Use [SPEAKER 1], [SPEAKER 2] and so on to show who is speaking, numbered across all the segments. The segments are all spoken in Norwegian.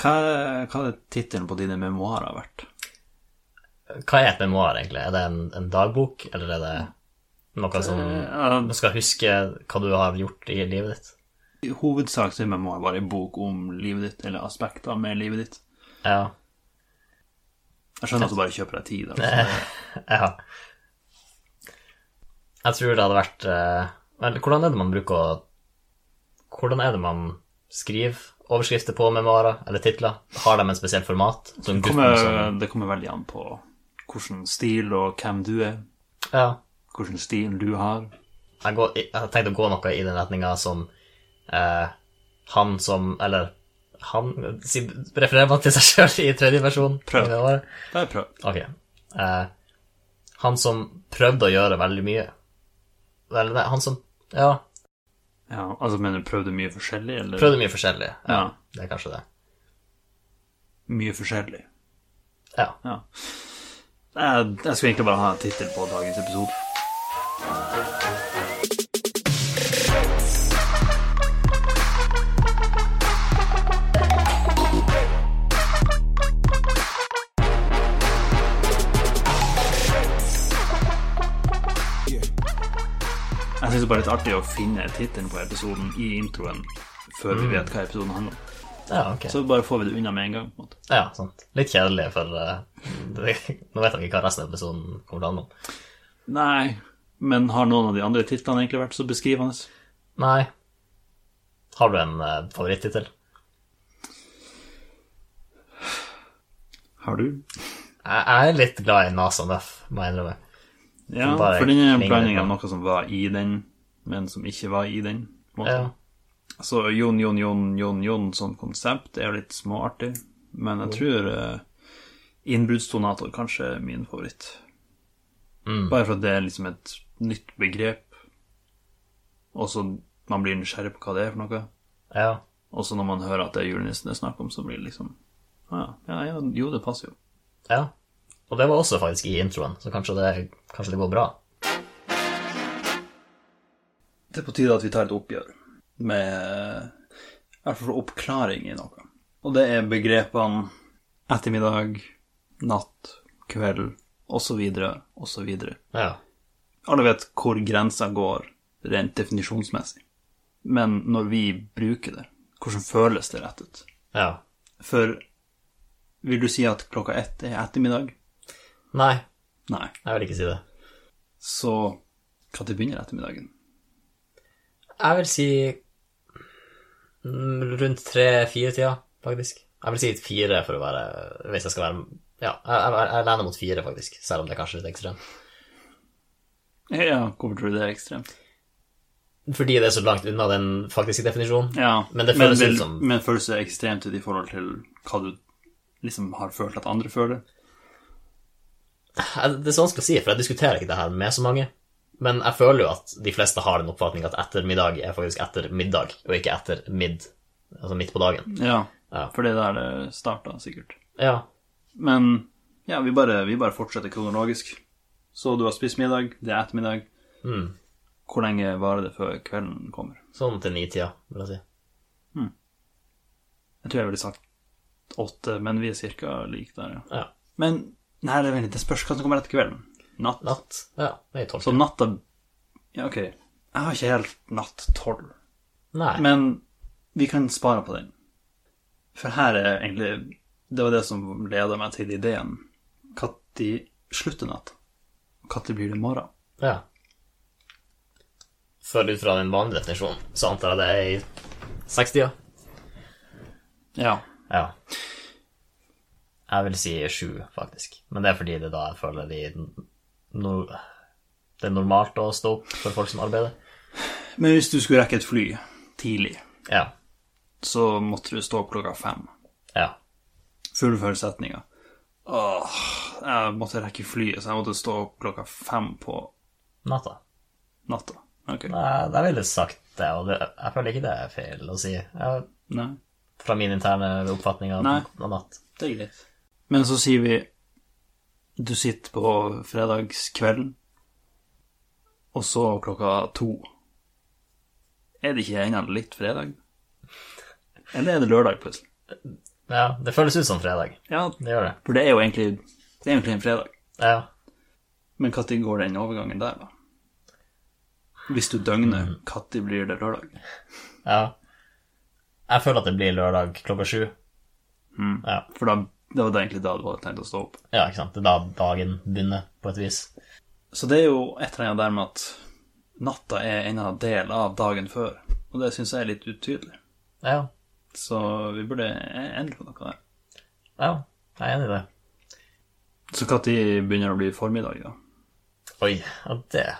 [SPEAKER 1] Hva, hva hadde tittelen på dine memoarer vært?
[SPEAKER 2] Hva er et memoar, egentlig? Er det en, en dagbok, eller er det noe som
[SPEAKER 1] Eh,
[SPEAKER 2] du skal huske hva du har gjort i livet ditt?
[SPEAKER 1] I hovedsak så er memoar bare en bok om livet ditt, eller aspekter med livet ditt.
[SPEAKER 2] Ja.
[SPEAKER 1] Jeg skjønner at du bare kjøper deg tid. Altså.
[SPEAKER 2] ja. Jeg tror det hadde vært eh, Vel, hvordan er det man bruker å Hvordan er det man skriver overskrifter på memoarer eller titler? Har de en spesielt format?
[SPEAKER 1] Det
[SPEAKER 2] Som gutten
[SPEAKER 1] kommer,
[SPEAKER 2] som
[SPEAKER 1] det kommer veldig an på hvilken stil og hvem du er.
[SPEAKER 2] Ja.
[SPEAKER 1] Hvilken stil du har.
[SPEAKER 2] Jeg, går, jeg har tenkt å gå noe i den retninga som eh, han som Eller han si, Refererer man til seg sjøl i tredje versjon?
[SPEAKER 1] Prøv.
[SPEAKER 2] i memoaret?
[SPEAKER 1] Bare prøv.
[SPEAKER 2] Ok. Eh, han som prøvde å gjøre veldig mye. Vel, nei, han som Ja.
[SPEAKER 1] Ja, altså, mener du prøvde mye forskjellig, eller?
[SPEAKER 2] Prøvde mye forskjellig. Ja,
[SPEAKER 1] Ja.
[SPEAKER 2] Det er kanskje det.
[SPEAKER 1] Mye forskjellig.
[SPEAKER 2] Ja.
[SPEAKER 1] Ja. Jeg, Eh, jeg skulle egentlig bare ha en tittel på dagens episode. Jeg syns det bare er litt artig å finne tittelen på episoden i introen før vi vet hva episoden handler om.
[SPEAKER 2] ja, ok.
[SPEAKER 1] Så bare får vi det unna med en gang. på en måte.
[SPEAKER 2] Ja, sant. Litt kjedelig, for eh, det, nå vet jeg ikke hva resten av episoden kommer til å handle om.
[SPEAKER 1] Nei, men har noen av de andre titlene egentlig vært så beskrivende?
[SPEAKER 2] Nei. Har du en uh, favorittittel?
[SPEAKER 1] Har du?
[SPEAKER 2] Jeg, jeg er litt glad i Nasa Nuff, må jeg innrømme.
[SPEAKER 1] Ja,
[SPEAKER 2] Som bare
[SPEAKER 1] for den er en
[SPEAKER 2] klinger
[SPEAKER 1] blanding
[SPEAKER 2] litt
[SPEAKER 1] av
[SPEAKER 2] på.
[SPEAKER 1] noe som var i den, men som ikke var i den. på en måte.
[SPEAKER 2] Ja.
[SPEAKER 1] Så Jon, Jon, Jon, Jon, Jon som konsept er jo litt småartig, men
[SPEAKER 2] Mm.
[SPEAKER 1] jeg tror uh, innbruddsdonator kanskje er min favoritt.
[SPEAKER 2] Mm.
[SPEAKER 1] Bare for at det er liksom et nytt begrep, og så man blir nysgjerrig på hva det er for noe.
[SPEAKER 2] ja.
[SPEAKER 1] Og så når man hører at det er julenissen det er snakk om, så blir det liksom ah, ja, ja, jo, det passer jo.
[SPEAKER 2] Ja. Og det var også faktisk i introen, så kanskje det, kanskje det går bra.
[SPEAKER 1] Det er på tide at vi tar et oppgjør med i hvert fall oppklaring i noe. Og det er begrepene ettermiddag, natt, kveld, osv., osv.
[SPEAKER 2] Ja.
[SPEAKER 1] Alle vet hvor grensa går rent definisjonsmessig. Men når vi bruker det, hvordan føles det rett ut?
[SPEAKER 2] ja.
[SPEAKER 1] For vil du si at klokka ett er ettermiddag?
[SPEAKER 2] Nei,
[SPEAKER 1] Nei.
[SPEAKER 2] jeg vil ikke si det.
[SPEAKER 1] Så når begynner ettermiddagen?
[SPEAKER 2] Jeg vil si mm, rundt tre-fire-tida, faktisk. Jeg vil si fire for å være Hvis jeg skal være Ja, jeg, jeg, jeg lener mot fire, faktisk, selv om det er kanskje litt ekstremt.
[SPEAKER 1] Ja, hvorfor tror du det er ekstremt?
[SPEAKER 2] Fordi det er så langt unna den faktiske definisjonen.
[SPEAKER 1] Ja,
[SPEAKER 2] Men det føles
[SPEAKER 1] vil-
[SPEAKER 2] ut som-
[SPEAKER 1] Men føles det ekstremt ut i forhold til hva du liksom har følt at andre føler?
[SPEAKER 2] Jeg- Det er så vanskelig å si, for jeg diskuterer ikke det her med så mange. Men jeg føler jo at de fleste har den oppfatning at ettermiddag er faktisk etter middag, og ikke etter midd, altså midt på dagen.
[SPEAKER 1] Ja,
[SPEAKER 2] Ja.
[SPEAKER 1] for det er der det starta, sikkert.
[SPEAKER 2] Ja,
[SPEAKER 1] Men ja, vi bare, vi bare fortsetter kronologisk. Så du har spist middag, det er ettermiddag.
[SPEAKER 2] Mm.
[SPEAKER 1] Hvor lenge varer det før kvelden kommer?
[SPEAKER 2] sånn til ni-tida, vil jeg si.
[SPEAKER 1] Jeg tror jeg ville sagt åtte, men vi er cirka like der, ja.
[SPEAKER 2] Ja.
[SPEAKER 1] Men nei, det, er veldig, det spørs hva som kommer etter kvelden. Natt.
[SPEAKER 2] Natt. Ja, det er tolv.
[SPEAKER 1] Så natta Ja, ok. Jeg har ikke helt natt tolv.
[SPEAKER 2] Nei.
[SPEAKER 1] Men vi kan spare på den. For her er egentlig Det var det som leda meg til ideen. Når slutter natta? Når blir det morgen?
[SPEAKER 2] Ja. For ut fra den vanlige definisjonen, så antar jeg det er i sekstida.
[SPEAKER 1] Ja.
[SPEAKER 2] Ja. Jeg vil si sju, faktisk. Men det er fordi det da jeg føler de no, Det er normalt å stå opp for folk som arbeider.
[SPEAKER 1] Men hvis du skulle rekke et fly tidlig,
[SPEAKER 2] Ja.
[SPEAKER 1] så måtte du stå opp klokka fem.
[SPEAKER 2] Ja.
[SPEAKER 1] Fullfør setninga. Åh, jeg måtte rekke flyet, så jeg måtte stå opp klokka fem på
[SPEAKER 2] Natta.
[SPEAKER 1] natta. Ok.
[SPEAKER 2] Nei, Jeg ville sagt det, og det, jeg føler ikke det er feil å si. Jeg,
[SPEAKER 1] Nei.
[SPEAKER 2] fra min interne oppfatning av,
[SPEAKER 1] Nei.
[SPEAKER 2] av natt.
[SPEAKER 1] Det er greit. Men så sier vi du sitter på fredagskvelden, og så klokka to. Er det ikke ennå litt fredag? Eller er det lørdag, plutselig?
[SPEAKER 2] Ja, det føles ut som fredag.
[SPEAKER 1] Ja,
[SPEAKER 2] Det gjør det.
[SPEAKER 1] for det er jo egentlig, det er egentlig en fredag.
[SPEAKER 2] Ja.
[SPEAKER 1] Men når går den overgangen der, da? Hvis du døgner, når blir det lørdag?
[SPEAKER 2] ja. Jeg føler at det blir lørdag klokka sju.
[SPEAKER 1] Mm.
[SPEAKER 2] Ja.
[SPEAKER 1] For da, det var da egentlig da du hadde tenkt å stå opp.
[SPEAKER 2] ja, ikke sant. Det er da dagen begynner, på et vis.
[SPEAKER 1] Så det er jo et eller annet der med at natta er en eller annen del av dagen før. Og det syns jeg er litt utydelig.
[SPEAKER 2] Ja.
[SPEAKER 1] Så vi burde endre på noe der.
[SPEAKER 2] ja. Jeg er enig i det.
[SPEAKER 1] Så når begynner det å bli formiddag, da?
[SPEAKER 2] Oi, ja, det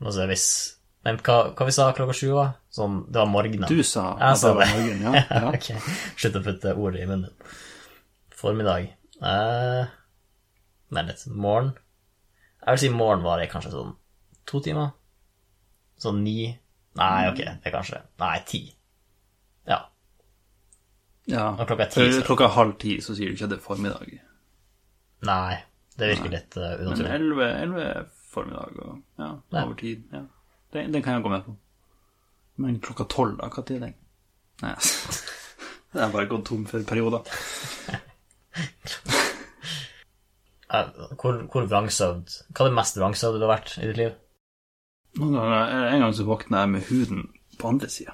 [SPEAKER 2] Nå ser jeg hvis Men hva, hva vi sa klokka sju, var? Sånn, det var morgenen.
[SPEAKER 1] Du sa
[SPEAKER 2] Jeg
[SPEAKER 1] at
[SPEAKER 2] sa
[SPEAKER 1] det var
[SPEAKER 2] det.
[SPEAKER 1] morgen, ja. ja.
[SPEAKER 2] ok, slutt å putte ordet i munnen. din. Formiddag. Eh, nei, litt. Morgen. Jeg vil si morgen varer kanskje sånn to timer. Sånn ni. Nei, ok, det er kanskje Nei, ti. Ja.
[SPEAKER 1] ja.
[SPEAKER 2] Og klokka ti,
[SPEAKER 1] For
[SPEAKER 2] så-
[SPEAKER 1] klokka halv ti så sier du ikke at det er formiddag.
[SPEAKER 2] Nei, det virker litt eh,
[SPEAKER 1] Men
[SPEAKER 2] unaturlig.
[SPEAKER 1] elleve elleve er formiddag og ja,
[SPEAKER 2] Ja.
[SPEAKER 1] over tid. Ja. Den, den kan jeg gå med på. Men klokka tolv, da? Når er den? Nei, altså. Det er bare gått tom for perioder.
[SPEAKER 2] Eh, Hvor, hvor vrangsøvd Hva er det mest vrangsøvde du har vært i ditt liv?
[SPEAKER 1] Noen ganger, eller En gang så våkna jeg med huden på andre sida.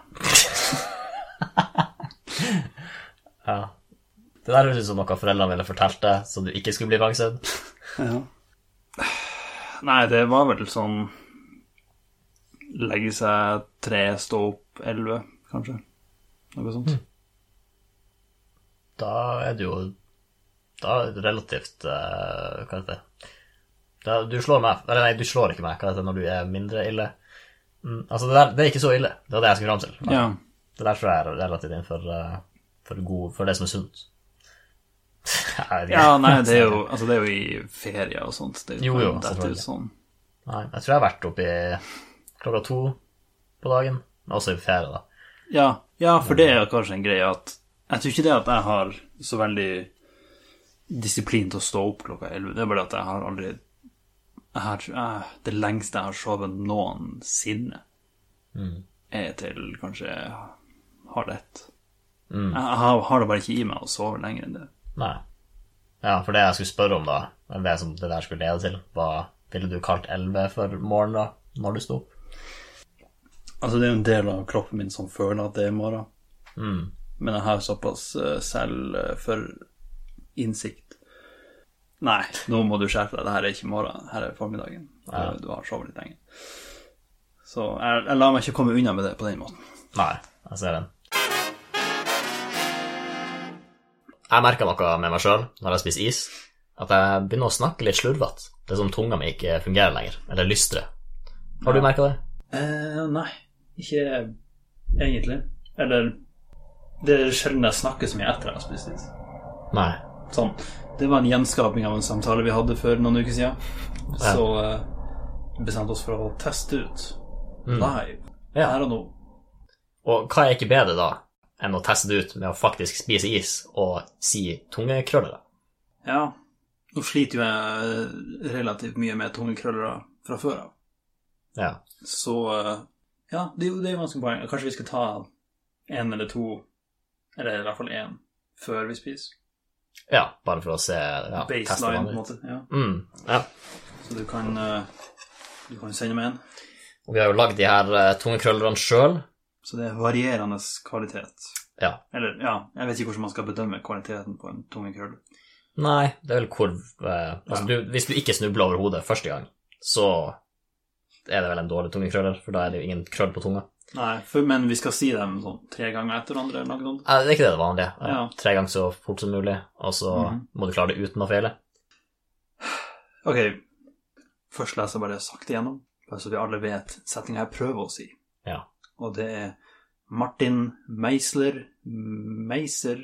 [SPEAKER 2] Ja. Det der høres ut som noe foreldrene ville fortalt deg, så du ikke skulle bli vrangsøvd.
[SPEAKER 1] Nei, det var vel sånn Legge seg tre, stå opp elleve, kanskje. Noe sånt.
[SPEAKER 2] Mm. Da er du jo Da er du relativt eh, Hva heter det da, Du slår meg Eller nei, du slår ikke meg, hva heter det når du er mindre ille? Mm, altså, det der det er ikke så ille. Det var det jeg skulle fram til.
[SPEAKER 1] Ja.
[SPEAKER 2] Det der tror jeg er relativt innenfor eh, for, god, for det som er sunt. Jeg vet ikke.
[SPEAKER 1] ja, nei, det er jo, altså, det er jo i ferie og sånt. Det er
[SPEAKER 2] Jo, jo,
[SPEAKER 1] dette er
[SPEAKER 2] selvfølgelig.
[SPEAKER 1] sånn.
[SPEAKER 2] Nei, jeg tror jeg har vært oppe i klokka to på dagen. men Også i ferie, da.
[SPEAKER 1] Ja, ja for det er kanskje en greie at Jeg tror ikke det at jeg har så veldig disiplin til å stå opp klokka 11. Det er bare at jeg har aldri jeg har, jeg, Det lengste jeg har sovet noensinne, er til kanskje halv ett. Jeg, jeg har, har det bare ikke i meg å sove lenger enn det.
[SPEAKER 2] Nei. Ja, for det jeg skulle spørre om, da, eller det som det der skulle lede til, var Ville du kalt 11 for morgen, da, når du sto opp?
[SPEAKER 1] Altså, det er jo en del av kroppen min som føler at det er morgen,
[SPEAKER 2] Mm.
[SPEAKER 1] men jeg har såpass eh, selv eh, for innsikt. Nei, nå må du skjerpe deg, det her er ikke morgen, her er formiddagen. Du-
[SPEAKER 2] Ja.
[SPEAKER 1] Du har sovet litt lenge. Så jeg, jeg lar meg ikke komme unna med det på den måten.
[SPEAKER 2] Nei, jeg ser den. Jeg merka noe med meg sjøl når jeg spiser is, at jeg begynner å snakke litt slurvete. Det er som tunga mi ikke fungerer lenger, eller lystrer. Har du merka det?
[SPEAKER 1] Eh, nei, ikke egentlig. Eller det er sjelden jeg snakker så mye etter jeg har spist is.
[SPEAKER 2] Nei.
[SPEAKER 1] Sånn. Det var en gjenskaping av en samtale vi hadde for noen uker siden.
[SPEAKER 2] Ja.
[SPEAKER 1] Så eh, bestemte oss for å teste ut
[SPEAKER 2] Mm.
[SPEAKER 1] live
[SPEAKER 2] Ja.
[SPEAKER 1] her og nå.
[SPEAKER 2] Og hva er ikke bedre da enn å teste det ut med å faktisk spise is og si tungekrøllere?
[SPEAKER 1] Ja. Nå sliter jo jeg relativt mye med tungekrøllere fra før av.
[SPEAKER 2] Ja.
[SPEAKER 1] Så eh, ja, det er jo det er jo ganske poeng. Kanskje vi skal ta én eller to, eller i hvert fall én, før vi spiser.
[SPEAKER 2] ja. Bare for å se ja, teste
[SPEAKER 1] Baseline, på
[SPEAKER 2] vannet.
[SPEAKER 1] en måte. Ja.
[SPEAKER 2] Mm, ja.
[SPEAKER 1] Så du kan, eh, du kan sende meg en.
[SPEAKER 2] Og vi har jo lagd de her eh, tungekrøllerne sjøl.
[SPEAKER 1] Så det er varierende kvalitet.
[SPEAKER 2] Ja.
[SPEAKER 1] Eller ja, jeg vet ikke hvordan man skal bedømme kvaliteten på en tungekrøll.
[SPEAKER 2] Nei, det er vel hvor eh, altså, du, Hvis du ikke snubler over hodet første gang, så er det vel en dårlig tungekrøller, for da er det jo ingen krøll på tunga.
[SPEAKER 1] Nei, for, men vi skal si dem sånn tre ganger etter hverandre eller noe sånt.
[SPEAKER 2] Eh, Det er ikke det det vanlige. Eh,
[SPEAKER 1] Ja.
[SPEAKER 2] Tre ganger så fort som mulig, og så
[SPEAKER 1] Mhm.
[SPEAKER 2] må du klare det uten å feile.
[SPEAKER 1] Ok, først leser jeg bare sakte gjennom, bare så vi alle vet setninga jeg prøver å si.
[SPEAKER 2] Ja.
[SPEAKER 1] Og det er Martin Meisler Meiser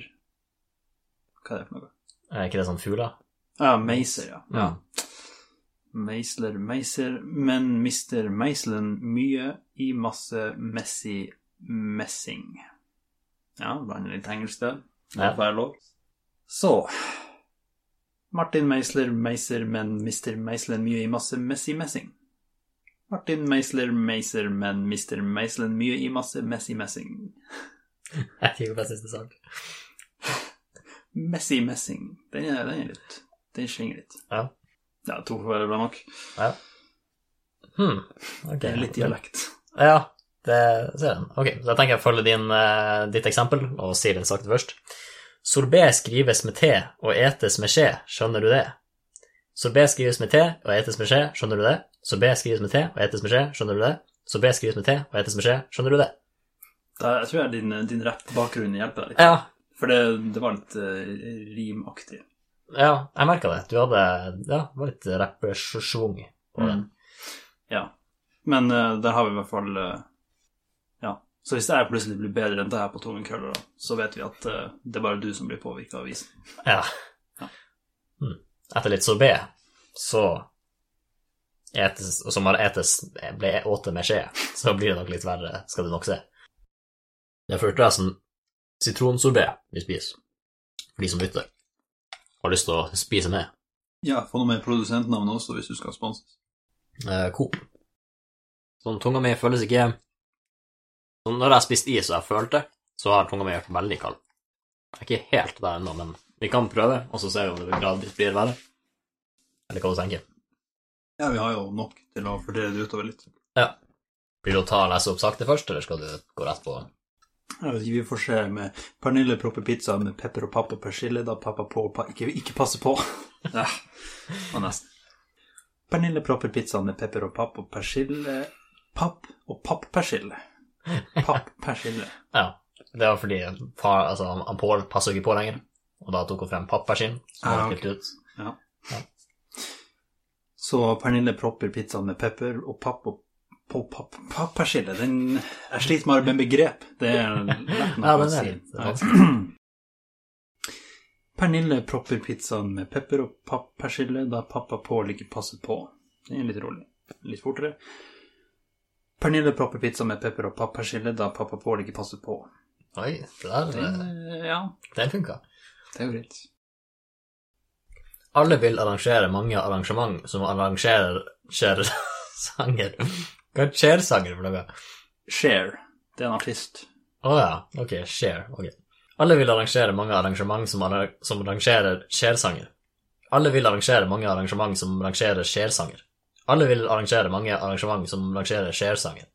[SPEAKER 1] Hva er det for noe?
[SPEAKER 2] Er ikke det sånn fugler? Mm.
[SPEAKER 1] Ja, Meiser, ja.
[SPEAKER 2] Ja.
[SPEAKER 1] Meisler Meiser, men mister Meiselen mye i masse messy messing. Ja, blander litt engelsk der. Det
[SPEAKER 2] Ja.
[SPEAKER 1] får jeg lov. Så Martin Meisler Meiser, men mister Meiselen mye i masse messy messing. Martin Meisler Meiser, men mister Meiselen mye i masse messy messing.
[SPEAKER 2] Jeg fikk jo bare siste sak.
[SPEAKER 1] Messy messing. Den er, den er litt Den svinger litt.
[SPEAKER 2] Ja.
[SPEAKER 1] Ja, to får være bra nok.
[SPEAKER 2] ja. Hmm. ok.
[SPEAKER 1] Det er litt dialekt.
[SPEAKER 2] Ja, det ser den. Ok, så jeg tenker jeg følger din, eh, ditt eksempel og sier det sakte først. Sorbet skrives med T og etes med skje, skjønner du det? Sorbet skrives med T og etes med skje, skjønner du det? Sorbet skrives med T og etes med skje, skjønner du det? Sorbet skrives med T og etes med skje, skjønner du det?
[SPEAKER 1] Da, jeg tror jeg din, din rap-bakgrunn hjelper deg litt.
[SPEAKER 2] Ja,
[SPEAKER 1] For det, det var litt eh, rimaktig.
[SPEAKER 2] ja jeg merka det. Du hadde ja, det var litt rappesjung
[SPEAKER 1] Mm.
[SPEAKER 2] på den.
[SPEAKER 1] Ja. Men eh, der har vi i hvert fall eh, Ja. Så hvis jeg plutselig blir bedre enn det her på Tungen Køller, da, så vet vi at eh, det er bare du som blir påvirka av isen.
[SPEAKER 2] Ja.
[SPEAKER 1] Ja.
[SPEAKER 2] Mm. Etter litt sorbet, så etes, og som har etes, ble åte med skje, så blir det nok litt verre, skal du nok se. Det er først det som sitronsorbet vi spiser, for de som lytter, har lyst til å spise med.
[SPEAKER 1] Ja, få noe med produsentnavnet også, hvis du skal sponses.
[SPEAKER 2] eh, Coop. Sånn, tunga mi føles ikke sånn, Når jeg har spist is og jeg følte, så har tunga mi vært veldig kald. Jeg er ikke helt der ennå, men vi kan prøve, og så ser vi om det gradvis blir verre. Eller hva du tenker.
[SPEAKER 1] Ja, vi har jo nok til å fordele det utover litt.
[SPEAKER 2] Blir det å ta og lese opp sakte først, eller skal du gå rett på?
[SPEAKER 1] Jeg vet ikke, Vi får se med Pernille propper pizza med pepper og papp og persille da pappa på pa, ikke, ikke passe på. ja, og nesten. Pernille propper pizza med pepper og papp og persille Papp og papp-persille. Papp-persille.
[SPEAKER 2] Ja. Det var fordi far, altså, han Pål passa ikke på lenger, og da tok hun frem pappersin, som
[SPEAKER 1] Ah,
[SPEAKER 2] han
[SPEAKER 1] ok.
[SPEAKER 2] hadde kutt ut.
[SPEAKER 1] Så Pernille propper pizzaen med pepper og papp og på papp, pappersille. Den, jeg sliter med å arbeide med begrep. Det er lett
[SPEAKER 2] Ja,
[SPEAKER 1] nok å
[SPEAKER 2] den er
[SPEAKER 1] si.
[SPEAKER 2] litt
[SPEAKER 1] Ja. Pernille propper pizzaen med pepper og pappersille da pappa Pål ikke passer på. Det er litt rolig. Litt fortere. Pernille propper pizzaen med pepper og pappersille da pappa Pål ikke passer på.
[SPEAKER 2] Oi, det
[SPEAKER 1] Den,
[SPEAKER 2] der,
[SPEAKER 1] eh, ja,
[SPEAKER 2] den funka.
[SPEAKER 1] det er jo greit.
[SPEAKER 2] Alle vil arrangere mange arrangement som arrangerer skjer sanger. Hva er skjer-sanger for noe?
[SPEAKER 1] Share. Det er en artist.
[SPEAKER 2] Å ja, ok, skjer. Ok. Alle vil arrangere mange arrangement som, arra som arrangerer skjer-sanger. Alle vil arrangere mange arrangement som arrangerer skjer-sanger. Alle vil arrangere mange arrangement som arrangerer skjer-sanger.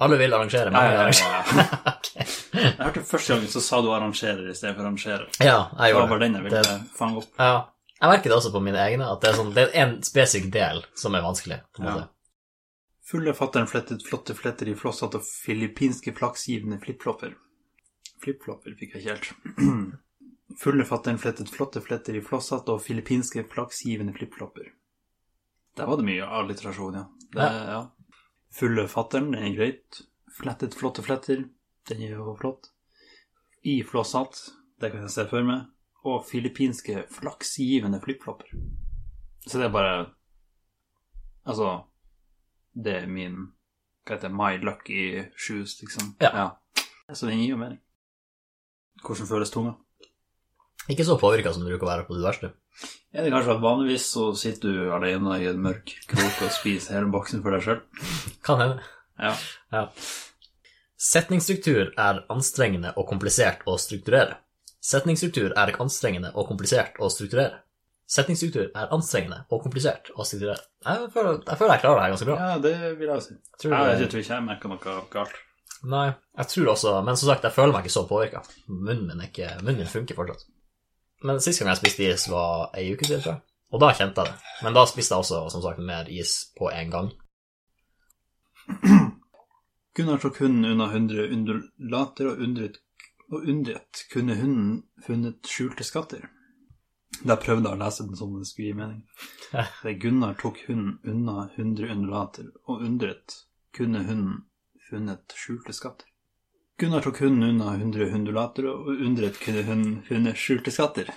[SPEAKER 2] Alle vil arrangere mange arrangement Ok.
[SPEAKER 1] Jeg hørte første gangen så sa du arrangerer i stedet for arrangerer.
[SPEAKER 2] Ja,
[SPEAKER 1] Det var
[SPEAKER 2] jeg gjorde det.
[SPEAKER 1] bare den jeg ville fange opp.
[SPEAKER 2] Ja. Jeg merker det også på mine egne, at det er, sånn, det er en spesifikk del som er vanskelig. på en
[SPEAKER 1] Ja.
[SPEAKER 2] måte.
[SPEAKER 1] Fulle fatter'n flettet flotte fletter i flosshatt og filippinske flaksgivende flipflopper. Flipflopper fikk jeg ikke helt. Fulle fatter'n flettet flotte fletter i flosshatt og filippinske flaksgivende flipflopper. Der var det mye alliterasjon, ja. Det, ja. Fulle fatter'n er greit. Flettet flotte fletter, den er jo flott. I flosshatt, det kan jeg se for meg. Og filippinske flaksgivende flipflopper. Så det er bare Altså det er min Hva heter det? My lucky shoes, liksom.
[SPEAKER 2] Ja.
[SPEAKER 1] Ja. Så den gir jo mening. Hvordan føles tunga?
[SPEAKER 2] Ikke så påvirka som det bruker å være på det verste.
[SPEAKER 1] Er det kanskje at vanligvis så sitter du alene i en mørk krok og spiser hele boksen for deg sjøl?
[SPEAKER 2] Kan hende.
[SPEAKER 1] Ja.
[SPEAKER 2] Setningsstruktur er anstrengende og komplisert å strukturere. Setningsstruktur er anstrengende og komplisert å strukturere. Setningsstruktur er anstrengende og komplisert å strukturere. Jeg føler jeg, føler jeg klarer det her ganske bra.
[SPEAKER 1] ja, det vil jeg si.
[SPEAKER 2] Jeg tror
[SPEAKER 1] Ja,
[SPEAKER 2] det-
[SPEAKER 1] jeg tror ikke jeg merker noe galt.
[SPEAKER 2] Nei, jeg tror også Men som sagt, jeg føler meg ikke så påvirka. Munnen min, er ikke, munnen min funker fortsatt. Men sist gang jeg spiste is, var ei uke siden, tror jeg. Og da kjente jeg det. Men da spiste jeg også, som sagt, mer is på en gang.
[SPEAKER 1] Gunnar tok hunden unna hundre undulater og undret, og undret kunne hunden funnet skjulte skatter. Da prøvde jeg å lese den som det skulle gi mening. Det er Gunnar tok hunden unna hundre undulater og undret kunne hunden funnet skjulte skatter. Gunnar tok hunden unna hundre undulater og undret kunne hunden funnet skjulte skatter.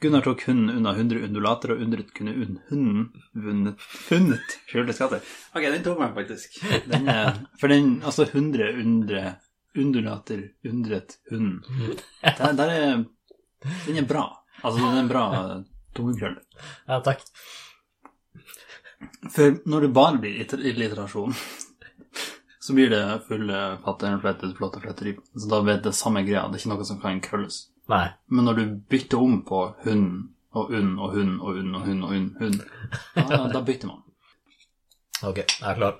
[SPEAKER 1] Gunnar tok hunden unna hundre undulater og undret kunne hun- hunden vunnet, funnet skjulte skatter. Ok, den tok meg faktisk. Den er, for den, altså 100 undre, undulater, undret hunden. Der, der er, den er bra. Altså, den er en bra tungekrølle.
[SPEAKER 2] Ja, takk.
[SPEAKER 1] For når det bare blir iter- illiterasjon, eh, så blir det fulle fatter'n flettet, flotte fletteri. Så da blir det samme greia. Det er ikke noe som kan krølles.
[SPEAKER 2] Nei.
[SPEAKER 1] Men når du bytter om på hund og unn og hund og unn og hund og unn, hund da, da bytter man.
[SPEAKER 2] Ok, jeg er klar.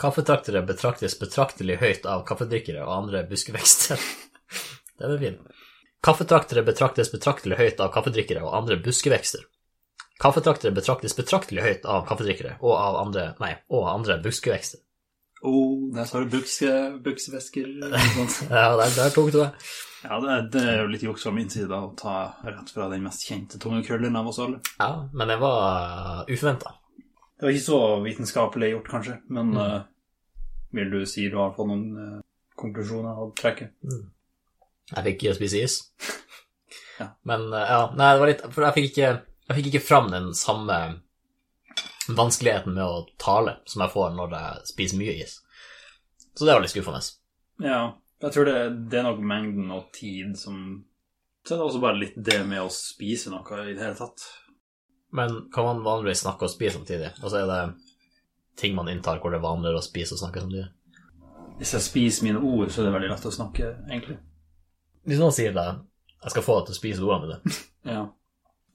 [SPEAKER 2] Kaffetraktere betraktes betraktelig høyt av kaffedrikkere og andre buskevekster. Det er vel fint. Kaffetraktere betraktes betraktelig høyt av kaffedrikkere og andre buskevekster. Kaffetraktere betraktes betraktelig høyt av kaffedrikkere og av andre, nei, og andre buskevekster.
[SPEAKER 1] Oh, der sa du bukse, buksevesker sånt.
[SPEAKER 2] Ja, der, der tok du det.
[SPEAKER 1] Ja, det, det er jo litt juks fra min side da, å ta rett fra den mest kjente tungekrølleren av oss alle.
[SPEAKER 2] Ja, men det var uh, uforventa.
[SPEAKER 1] Det var ikke så vitenskapelig gjort, kanskje, men eh, vil du si du har fått noen eh, konklusjoner å trekke?
[SPEAKER 2] Jeg fikk ikke spise is.
[SPEAKER 1] Ja.
[SPEAKER 2] Men eh, ja, nei, det var litt For jeg fikk ikke, jeg fikk ikke fram den samme vanskeligheten med å tale som jeg får når jeg spiser mye is. Så det var litt skuffende.
[SPEAKER 1] Ja, jeg tror det, det er nok mengden og tid som Så er det også bare litt det med å spise noe i det hele tatt.
[SPEAKER 2] Men kan man vanligvis snakke og spise samtidig? Og så er det ting man inntar hvor det er vanligere å spise og snakke samtidig.
[SPEAKER 1] Hvis jeg spiser mine ord, så er det veldig lett å snakke, egentlig.
[SPEAKER 2] Hvis noen sier deg 'jeg skal få deg til å spise ordene dine',
[SPEAKER 1] Ja.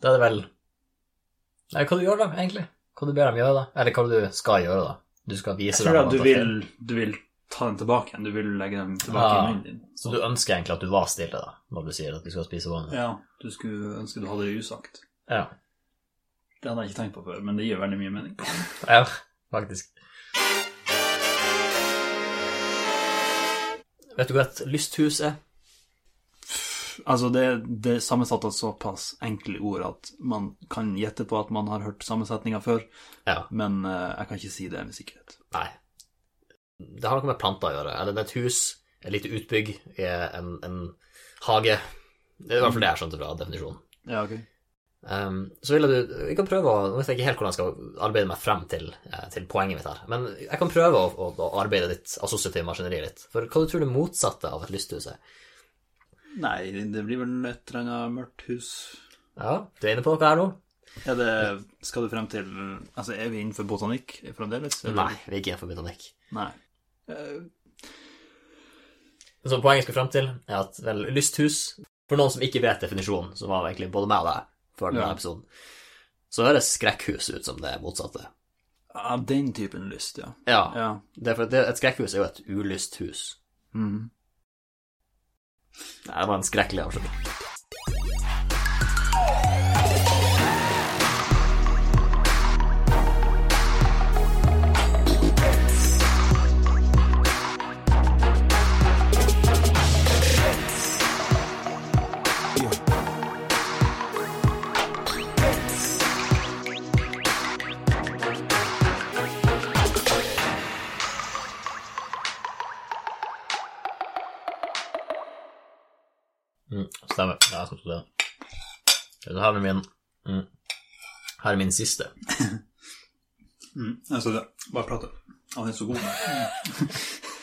[SPEAKER 2] da er det vel Nei, hva du gjør da, egentlig? Hva du ber dem gjøre, da? Eller hva du skal gjøre, da? Du skal vise
[SPEAKER 1] Jeg
[SPEAKER 2] dem
[SPEAKER 1] tror at
[SPEAKER 2] at
[SPEAKER 1] du
[SPEAKER 2] det er
[SPEAKER 1] vil, du vil ta den tilbake igjen. Du vil legge den tilbake
[SPEAKER 2] Ah.
[SPEAKER 1] i munnen din.
[SPEAKER 2] Så du ønsker egentlig at du var stille da, når du sier at du skal spise vann?
[SPEAKER 1] Ja, du skulle ønske du hadde det usagt.
[SPEAKER 2] Ja.
[SPEAKER 1] Det hadde jeg ikke tenkt på før, men det gir veldig mye mening.
[SPEAKER 2] ja, faktisk. Vet du hva et lysthus er?
[SPEAKER 1] Altså, det, det er sammensatt av såpass enkle ord at man kan gjette på at man har hørt sammensetninga før,
[SPEAKER 2] Ja.
[SPEAKER 1] men eh, jeg kan ikke si det med sikkerhet.
[SPEAKER 2] Nei. Det har noe med planter å gjøre. Eller det er et hus, et lite utbygg, en, en hage. Det er i hvert fall det jeg skjønte fra definisjonen.
[SPEAKER 1] Ja, ok.
[SPEAKER 2] Ehm, så vil jeg du Jeg kan prøve å Nå vet jeg ikke helt hvordan jeg skal arbeide meg frem til, eh, til poenget mitt her, men jeg kan prøve å, å, å arbeide litt assosiativt maskineri litt. For hva du tror det motsatte av et lysthus er?
[SPEAKER 1] Nei, det blir vel et eller annet mørkt hus.
[SPEAKER 2] Ja, du er inne på noe her nå?
[SPEAKER 1] Er det Skal du frem til Altså, er vi innenfor botanikk fremdeles? eller?
[SPEAKER 2] Nei, vi er ikke innenfor botanikk.
[SPEAKER 1] Nei. Eh,
[SPEAKER 2] Så poenget jeg skal frem til, er at vel, lysthus For noen som ikke vet definisjonen, som var egentlig både meg og deg før denne
[SPEAKER 1] Ja.
[SPEAKER 2] episoden, så høres skrekkhus ut som det motsatte.
[SPEAKER 1] ja, den typen lyst, ja.
[SPEAKER 2] Ja,
[SPEAKER 1] Ja.
[SPEAKER 2] Det er for at det, et skrekkhus er jo et ulyst hus.
[SPEAKER 1] Mhm.
[SPEAKER 2] Nei, det var en skrekkelig avslutning. Mm, stemmer. Ja, jeg skal tro det. Så Her er min mm, Her er min siste.
[SPEAKER 1] Mm, altså, det, bare prate. Han er så god.